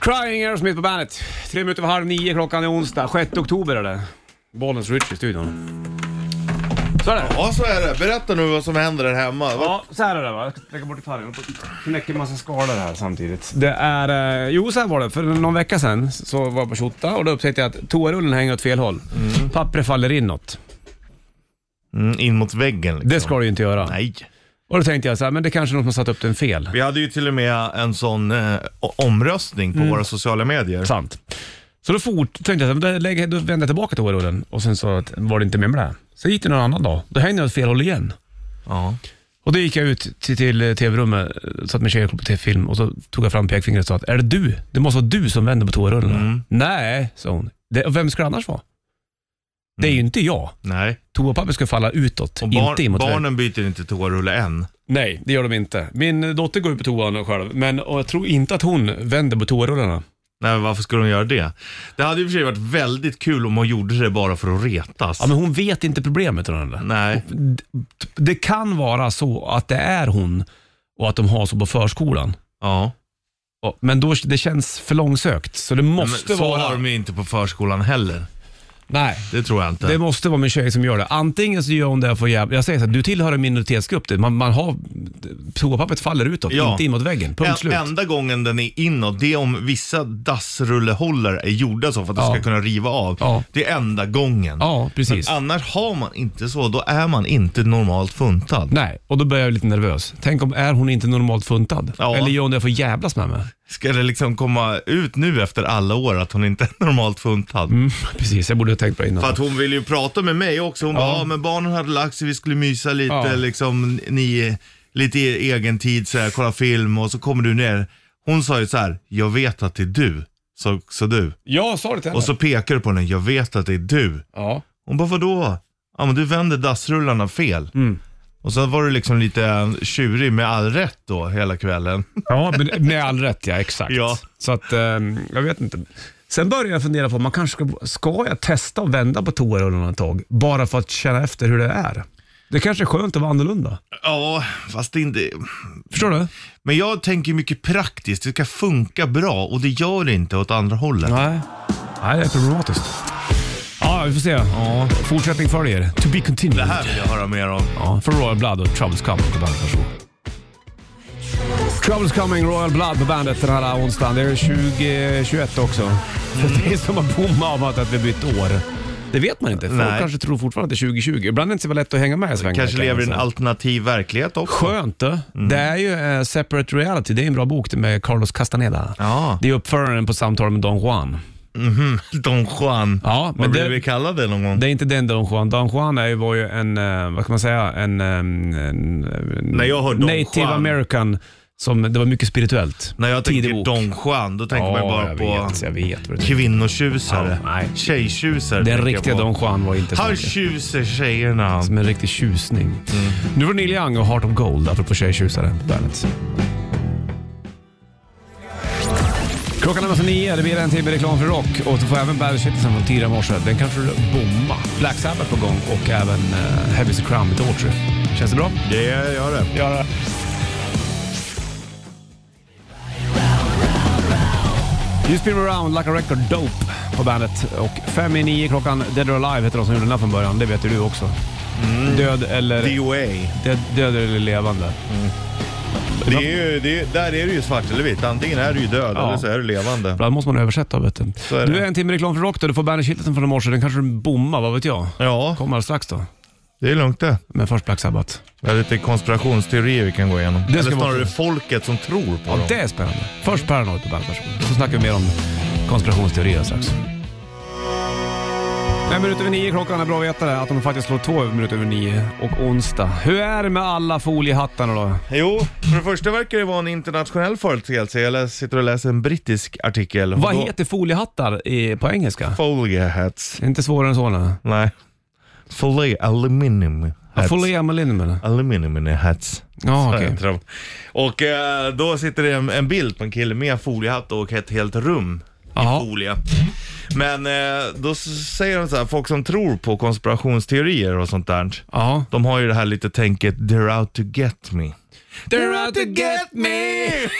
Crying Aerosmith på bandet. Tre minuter över halv nio, klockan är onsdag. 6 oktober är det. Bollens Rich i studion. Så är det.
Ja, så är det. Berätta nu vad som händer där hemma.
Ja, så här är det va. Jag ska lägga bort gitarren. Jag knäcker en massa skalor här samtidigt. Det är... Eh, jo, så här var det. För någon vecka sedan så var jag på Tjotta och då upptäckte jag att toarullen hänger åt fel håll. Pappret faller inåt.
Mm, in mot väggen liksom.
Det ska det ju inte göra.
Nej.
Och då tänkte jag så här, men det kanske är någon som har satt upp den fel.
Vi hade ju till och med en sån eh, o- omröstning
Mm.
på våra sociala medier.
Sant. Så då fort, tänkte jag, så här, då, lägger, då vänder jag tillbaka toarullen och sen så att- var det inte mer med det. Så gick det någon annan dag. Då hängde den åt fel håll igen.
Ja.
Och då gick jag ut till, till eh, tv-rummet, eh, satt med tjejer och kollade på tv-film och så tog jag fram pekfingret och sa att är det du? Det måste vara du som vänder på toarullen.
Mm.
Nej, sa hon. Det, och vem skulle det annars vara? Det är ju inte jag.
Nej.
Toapappret ska falla utåt,
Mm. Och barn,
inte emot väggen.
barnen byter inte toarulle än.
Nej, det gör de inte. Min dotter går ut på toan själv, men och jag tror inte att hon vänder på toarullarna.
Nej, men varför skulle de göra det? Det hade ju i och för sig varit väldigt kul om hon gjorde det bara för att retas.
Ja, men hon vet inte problemet. Hon, eller?
Nej.
D- Det kan vara så att det är hon och att de har så på förskolan.
Ja.
Ja, Men då, det känns för långsökt, så det
Men
måste
så
vara...
har de ju inte på förskolan heller.
Nej,
Det tror jag inte.
det måste vara min tjej som gör det. Antingen så gör hon det för jävla... Jag säger så här, du tillhör en minoritetsgrupp. Det- Man, man har... Toapappret faller utåt,
Ja.
inte in mot väggen. Punkt
En,
slut.
enda gången den är inåt, det är om vissa dassrullehållare är gjorda så för att
Ja.
du ska kunna riva av.
Ja.
Det är enda gången.
Ja, precis.
Men annars har man inte så, då är man inte normalt funtad.
Nej, och då börjar jag bli lite nervös. Tänk om, är hon inte normalt funtad?
Ja.
Eller gör hon det för att jävlas med mig?
Ska det liksom komma ut nu efter alla år att hon inte är normalt funtad?
Mm, precis, jag borde ha tänkt på det innan.
För att hon ville ju prata med mig också. Hon bara, ja men barnen hade lagt sig, vi skulle mysa lite,
Ja.
liksom, ni, lite e- egen tid, så här, kolla film och så kommer du ner. Hon sa ju så här, jag vet att det är du, sa sa du.
Jag sa det till henne.
Och så pekar du på henne, jag vet att det är du.
Ja.
Hon bara, vadå? Ja men du vänder dassrullarna fel.
Mm.
Och så var du liksom lite tjurig med all rätt då hela kvällen.
Ja, men med all rätt ja, exakt.
Ja.
Så att, ehm, jag vet inte. Sen började jag fundera på, man kanske ska, ska jag testa att vända på toarullarna ett tag? Bara för att känna efter hur det är. Det kanske är skönt att vara annorlunda.
Ja, fast det är inte...
Förstår du?
Men jag tänker mycket praktiskt, det ska funka bra och det gör det inte åt andra hållet.
Nej. Nej, det är problematiskt. Ja, vi får se. Ja. Fortsättning följer. To be continued.
Det här vill jag höra mer om.
Ja, för Royal Blood och Troubles Coming på bandet. Varsågod. Troubles Coming, Royal Blood på bandet den här onsdagen. Det är 2021 också.
Mm.
För det är som att bomma om att att vi bytt år. Det vet man inte. Folk
Nej.
kanske tror fortfarande att det är 2020. Ibland är det inte så lätt att hänga med i svängen.
Kanske
kan jag
lever i en Mm.
säga.
alternativ verklighet också.
Skönt du. Det är ju eh, Separate Reality. Det är en bra bok det med Carlos Castaneda.
Ja,
Det är uppföraren på Samtal med Don Juan.
Don Juan.
Ja,
Vad
men
blev
det-
vi kallade någon gång?
Det är inte den Don Juan. Don Juan är, ju- var ju en, eh, vad kan man säga, en, en, en
När jag hör Don
native
Juan-
american som, det var mycket spirituellt.
När jag tänker
Tidig bok.
Don Juan, då tänker man bara
jag
på
Vet, jag vet vad du tänker.
kvinnotjusare.
Ja, nej.
Tjejtjusare.
Den
tänker jag
riktiga
på.
Don Juan var inte så
Han
mycket.
tjuser tjejerna.
Som en riktig tjusning. Nu var det Neil Young och Heart of Gold, apropå tjejtjusare. Bandet. Klockan är alltså nio, det blir en timme reklam för rock och du får även Bandit-kittelsen från tidigare i morse. Den kanske du bomma. Black Sabbath på gång och även uh, Heavy As a Crown med Torture. Känns det bra?
Det gör det.
Göra. You spin around like a record dope på bandet. Och fem i nio klockan, Dead or Alive heter de som gjorde den här från början. Det vet ju du också.
Mm.
Död, eller,
DOA.
död, död eller levande.
Det är ju, det är, där är du ju svart eller vitt. Antingen är du ju död
Ja.
eller så är du levande.
Ibland måste man översätta vet du.
är det.
du är en timme reklam för rock då. Du får Bandit-kittelsen från i morse. Den kanske du bommar, vad vet jag.
Ja,
Kommer alldeles strax då.
det är lugnt det.
Men först Black Sabbath.
Vi har lite konspirationsteorier vi kan gå igenom.
ska
eller
vara
snarare
kul.
folket som tror på
Ja,
dem.
det är spännande. Först Paranoid på bandet, varsågod. Så snackar vi mer om konspirationsteorier strax. En minut över nio klockan är bra att veta det, att de faktiskt slår två minuter över nio och onsdag. Hur är det med alla foliehattarna då?
Jo, för det första verkar det vara en internationell företeelse. Jag läs, sitter och läser en brittisk artikel.
Vad
Då-
heter foliehattar i, på engelska?
Folieheads.
Det är inte svårare än så nu.
Nej. Folie aluminium.
Ja,
hats.
Foliemalin menar
Aluminium är hats.
Ja, okej.
Okay. Och eh, då sitter det en, en bild på en kille med foliehatt och ett helt rum
Jaha.
i folie. Men eh, då s- säger de så här, folk som tror på konspirationsteorier och sånt där,
Ja.
de har ju det här lite tänket “they're out to get me”.
They're out to get me!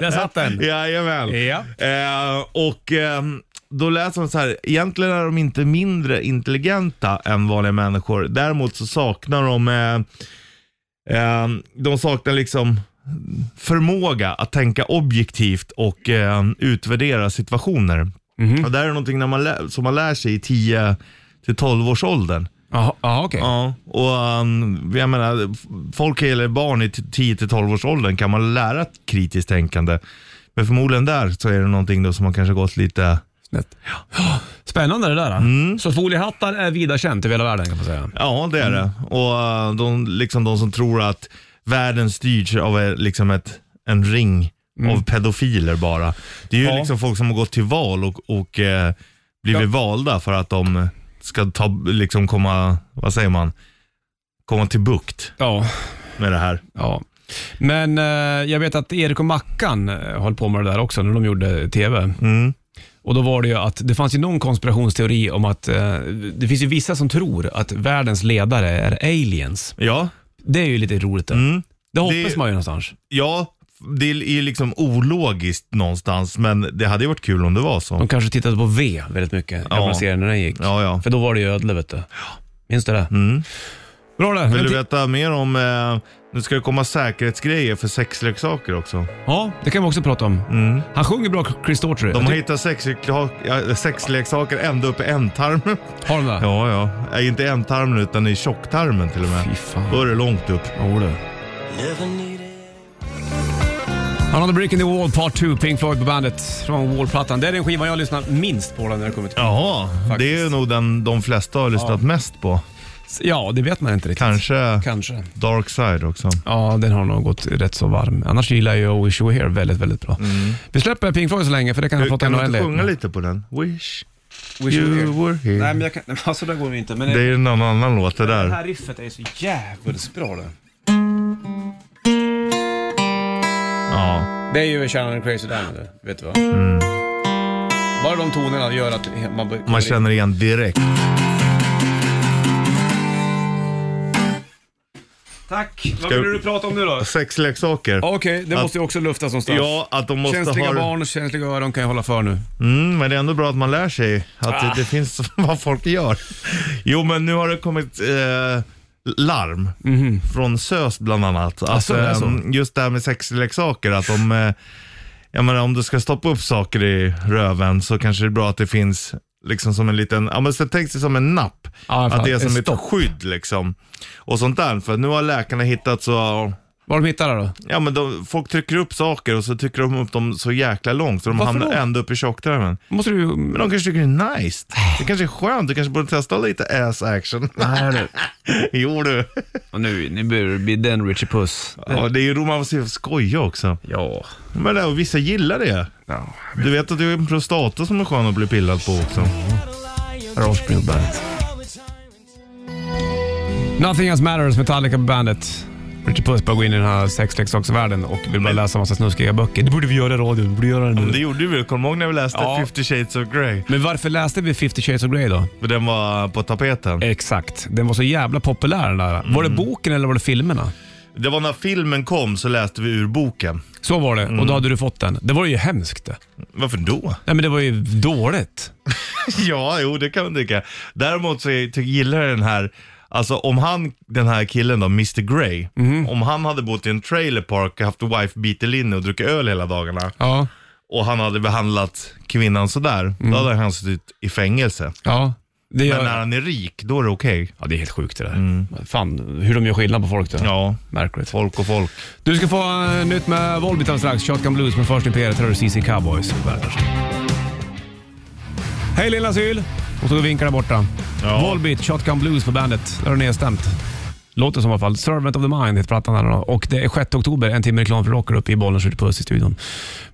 Där satt den.
Jajamän.
Ja.
Eh, och ehm, då läser de så här, egentligen är de inte mindre intelligenta än vanliga människor. Däremot så saknar de, eh, eh, de saknar liksom förmåga att tänka objektivt och eh, utvärdera situationer. Och det här är någonting när man lä- som man lär sig i 10 till 12 års åldern.
Jaha, jaha, okej.
Ja, och um, jag menar, f- folk eller barn i 10-12 års åldern kan man lära ett kritiskt tänkande. Men förmodligen där så är det någonting då som har kanske gått lite,
Snett. Ja. Spännande det där. då.
Mm.
Så foliehattar är vida känt över hela världen kan man säga.
ja det är det. Och uh, de, liksom de som tror att världen styrs av eh, liksom ett, en ring av pedofiler bara. Det är ju
Ja.
liksom folk som har gått till val och, och eh, blivit valda för att de ska ta, liksom komma, vad säger man, komma till bukt
Ja.
med det här.
ja. Men eh, jag vet att Erik och Mackan eh, höll på med det där också när de gjorde TV.
Mm.
Och då var det ju att det fanns ju någon konspirationsteori om att eh, det finns ju vissa som tror att världens ledare är aliens.
Ja,
Det är ju lite roligt det. Det hoppas
Mm. Det-
man ju någonstans.
Ja, det är ju liksom ologiskt någonstans, men det hade ju varit kul om det var så.
De kanske tittade på V väldigt mycket, gamla serien när den gick.
Ja, ja. Mm.
För då var det ju ödle vet du. Minns du det? Bra det.
Vill
En
du
ti-
veta mer om, eh, nu ska det komma säkerhetsgrejer för sexleksaker också.
Ja, det kan vi också prata om. Han sjunger bra, Chris Daughtry.
Mm. De
Jag
har
ty-
hittat sexlekla- ja, sexleksaker ända upp i ändtarmen.
har de det?
Ja, ja. Nej, inte ändtarmen utan i tjocktarmen till och
Fy
med.
fan.
Då är det långt upp.
Jo du. Another Brick in the Wall Part 2, Pink Floyd på bandet från Wall-plattan. Det är den skivan jag lyssnar minst på när det kommer till
Jaha, det är ju nog den de flesta har lyssnat mest på.
Ja, det vet man inte riktigt.
Kanske
Kanske.
Dark Side också.
Ja, den har nog gått rätt så varm. Annars gillar jag ju I Wish You Were Here väldigt, väldigt bra. Vi släpper Pink Floyd så länge för det kan jag prata
Kan Mm. du
om
inte sjunga lite på den? Wish
Wish You Were
you
Here.
were
Nej,
here.
men jag kan... Nej, men Alltså, där går det inte. Men
Det är ju någon annan låt det där.
det här riffet är så jävligt bra det.
Ja.
Det är ju Shannon and Crazy Diamond, vet du vad? Bara de tonerna gör att man... bör-
Mm. Man känner igen direkt.
Tack! Vad
Ska-
vill du prata om nu då?
Sexleksaker.
Okej, det
Att-
måste ju också luftas någonstans.
Ja, att de måste
känsliga
ha...
barn och känsliga öron kan jag hålla för nu.
Mm, men det är ändå bra att man lär sig att
Ah.
det, det finns vad folk gör. Jo, men nu har det kommit eh, larm från SÖS bland annat. Att,
Alltså, det är Mhm. så?
ehm, Just det här med sexleksaker, att de... Eh, jag menar, om du ska stoppa upp saker i röven så kanske det är bra att det finns liksom som en liten, ja men så tänk dig som en napp.
Ja, fan,
att det är
en
som ett
stopp.
skydd liksom. Och sånt där, för nu har läkarna hittat så
Var de hittar det då?
Ja men de, folk trycker upp saker och så trycker de upp dem så jäkla långt så de
Varför
hamnar
då?
ända upp i tjocktarmen.
Måste du...
Men de kanske tycker det är nice. Det kanske är skönt, du kanske borde testa lite ass action. Nej du. jo du.
nu, nu börjar det bli den Richie Puss.
Ja, det är ju romantik att skoja också.
Ja.
Men det, och vissa gillar det. Du vet att det är en prostata som är skön att bli pillad på också.
Rospring Bandet. Nothing Else Matters, Metallica på bandet. Richie Puss börjar gå in i den här sexleksaksvärlden och vill bara läsa massa snuskiga böcker. Det borde vi göra i radion, vi borde göra det
Men Mm, det
nu.
gjorde vi väl? Kommer du ihåg när vi läste
Ja.
50 shades of Grey?
Men varför läste vi 50 Shades of Grey då?
För Den var på tapeten.
Exakt. Den var så jävla populär den där. Var det boken eller var det filmerna?
Det var när filmen kom så läste vi ur boken.
Så var det och då hade du fått den. Det var ju hemskt det.
Varför då?
Nej men det var ju dåligt.
Ja, jo det kan man tycka. Däremot så är- ty- gillar jag den här, alltså om han, den här killen då, Mr Grey,
Mhm.
om han hade bott i en trailer park, haft wife beater linne och druckit öl hela dagarna
Ja.
och han hade behandlat kvinnan sådär, då hade han suttit i fängelse.
Mm. Ja. Det,
Men äh,
gör,
när han är rik, då är det okej.
ja, det är helt sjukt det där. Fan, hur de gör skillnad på folk där.
Ja,
Märkligt.
folk och folk.
Du ska få eh, nytt med Volbeat alldeles strax. Shotgun Blues, men först Imperiet. Här har du CC Cowboys. Varsågod. Hej lilla Syl! Och så vinkar där borta.
Ja.
Volbeat, Shotgun Blues på bandet. Där har du nedstämt. Låter som i alla fall. Servant of the Mind heter plattan. Här då. och det är 6 oktober, en timme reklam för rocker uppe i bollen skjuter puss i studion.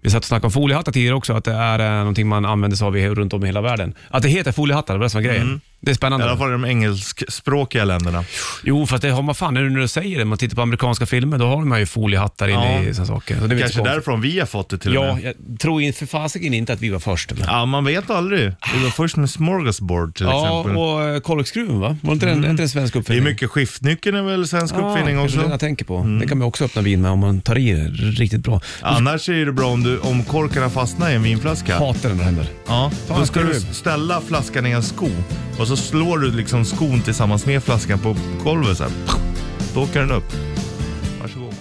Vi satt och snackade om
Mm.
foliehattar tidigare också, att det är eh, någonting man använder sig av i- runt om i hela världen. Att det heter foliehattar, det var det som var grejen. Det är
I alla
spännande.
fall i de engelskspråkiga länderna.
Jo, fast det har man fan, nu när du säger det, man tittar på amerikanska filmer, då har de ju foliehattar inne
Ja.
i sådana saker. Så det är inte
Kanske
konstigt.
därifrån vi har fått det till och
Ja,
med.
jag tror in- för fasiken inte att vi var först. Men.
Ja, man vet aldrig. Vi var först med smorgasbord till
Ja,
exempel.
och eh, korkskruven va? Var inte den, inte en svensk
Det är
uppfinning?
mycket skiftnyckeln är väl svensk uppfinning
Mm. ah, Det är det
också. Mm.
jag tänker på. Det kan man också öppna vin med om man tar i det riktigt bra.
Annars är det bra om, du, om korkarna fastnar i en vinflaska.
Hatar den när det händer.
Ja,
Ta en
då ska du
skruv.
ställa flaskan i en sko och så slår du liksom skon tillsammans med flaskan på golvet så här. Då åker den upp. Varsågod.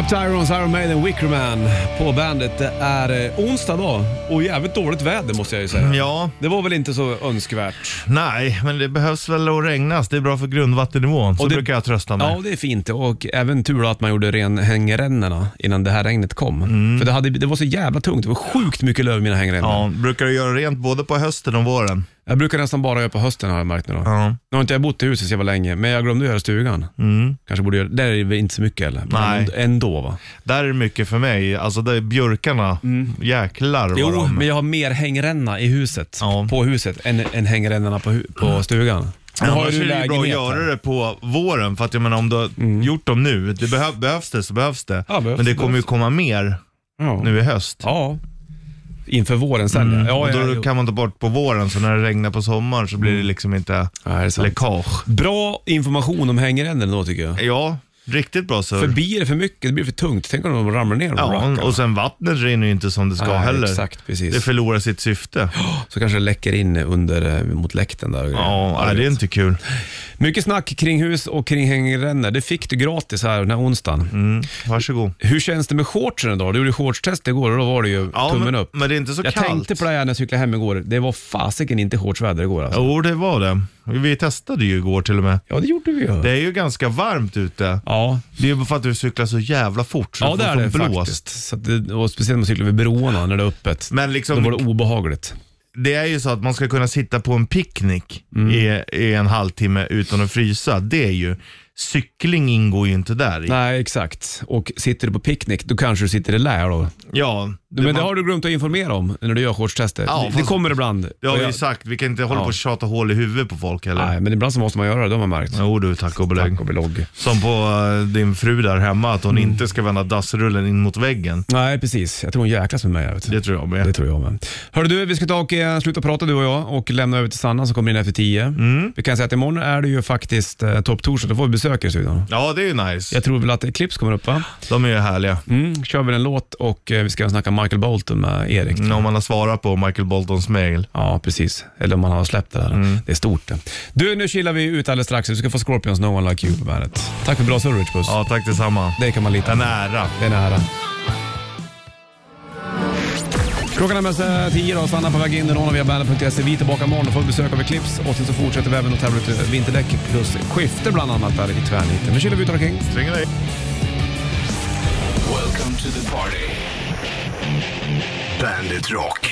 Up Tyrons, Iron Maiden, Wickerman på bandet. Det är eh, onsdag dag och jävligt dåligt väder måste jag ju säga.
Ja,
Det var väl inte så önskvärt.
nej, men det behövs väl att regnas. Det är bra för grundvattennivån. Så
Och det-
brukar jag trösta mig.
Ja, och det är fint och även tur då att man gjorde renhängrännorna innan det här regnet kom. För det, hade, det var så jävla tungt. Det var sjukt mycket löv i mina hängrännor.
Mm. Ja, brukar du göra rent både på hösten och våren?
Jag brukar nästan bara göra på hösten har jag märkt nu då.
Ja.
Nu har inte jag bott i huset så jävla länge, men jag glömde göra stugan. Kanske borde göra, där är det inte så mycket eller? Men
Mm. Nej.
änd- Ändå va?
Där är det mycket för mig. Alltså där är björkarna. Jäklar vad
Mm. Jo,
de...
men jag har mer hängränna i huset,
Ja.
på huset, än, än hängrännorna på, hu- på stugan. Nu har ju
Annars
du
är det ju bra att
lägenhet här. Mm.
göra det på våren, för att jag menar om du har gjort dem nu, det behö- behövs det så behövs det.
Ja, behövs
Men det
det,
kommer ju
behövs
komma mer
Ja.
nu i höst.
ja. Inför våren sen ja. ja.
och
ja,
då
jo. Mm.
kan man ta bort på våren, så när det regnar på sommaren så blir det liksom inte
Ja, det är sant.
läckage.
Bra information om hängrännorna då tycker jag.
Ja, riktigt bra surr.
För blir det för mycket, det blir för tungt. Tänk om de ramlar ner och
Ja,
rackar.
och sen vattnet rinner ju inte som det ska
Nej,
heller.
Exakt, precis.
Det förlorar sitt syfte.
Så kanske det läcker in under, eh, mot läkten där. och grejer.
Ja, nej,
du
det är
vet.
inte kul.
Mycket snack kring hus och kring hängrännor. Det fick du gratis här den här onsdagen.
Mm. Varsågod.
Hur känns det med shortsen idag? Du gjorde shortstest igår och då var det ju
Ja,
tummen
men,
upp.
men det är inte så
jag
kallt.
tänkte på det här när jag cyklade hem igår. Det var fasiken inte shortsväder igår alltså.
Jo, det var det. Vi testade ju igår till och med.
Ja, det gjorde vi ju.
Det är ju ganska varmt ute.
Ja,
Det är ju för att du cyklar så jävla fort. Så
ja
du
det är
får som
det
blåst.
faktiskt. Så att det, och speciellt när man cyklar vid broarna när det är öppet.
Men
Då
liksom,
var det obehagligt.
det är ju så att man ska kunna sitta på en picknick
Mm.
i, i en halvtimme utan att frysa. Det är ju, cykling ingår ju inte där. i.
Nej, exakt. Och sitter du på picknick, då kanske du sitter i lä då.
Ja,
Men det
man-
har du glömt att informera om när du gör shortstester.
Ja,
det, det
fast-
kommer ibland.
det har
Och
vi
jag-
ju sagt. Vi kan inte hålla
Ja.
på och tjata hål i huvudet på folk heller.
Nej, men ibland så måste man göra det, det har man märkt.
Jo du, tack och belägg.
Tack och Mm. belogg.
Som på eh, din fru där hemma, att hon inte ska vända dassrullen in mot väggen.
Nej, precis. Jag tror hon jäklas med mig. Jag vet.
Det tror jag med.
Det tror jag med. Hörru du, vi ska ta och eh, sluta prata du och jag och lämna över till Sanna som kommer in efter tio.
Mm.
Vi kan säga att imorgon är det ju faktiskt eh, topptorsdag, då får vi besök i studion.
Ja, det är ju nice.
Jag tror väl att Eclipse kommer upp va?
De är ju härliga.
Mm. Kör vi en låt och eh, vi ska snacka Michael Bolton med Erik.
Mm, Om man har svarat på Michael Boltons mail.
Ja, precis. Eller om man har släppt det där.
Mm.
Det är stort det. Du, nu kilar vi ut alldeles strax. Du ska få Scorpions No One Like You på bandet. Tack för bra service Puss.
Ja, tack detsamma.
Det kan man lita
En
på.
ära.
Det är nära. Klockan är mest eh, tio då. Sanna på väg in i Ronna via bandet.se. E. Vi är tillbaka imorgon och får besök av Eclipse. Och sen så fortsätter vi även att tävla ut eh, vinterdäck plus skifte bland annat där i tvärniten. Nu kilar vi ut omkring.
Ringer dig.
Welcome to the party. Bandit Rock.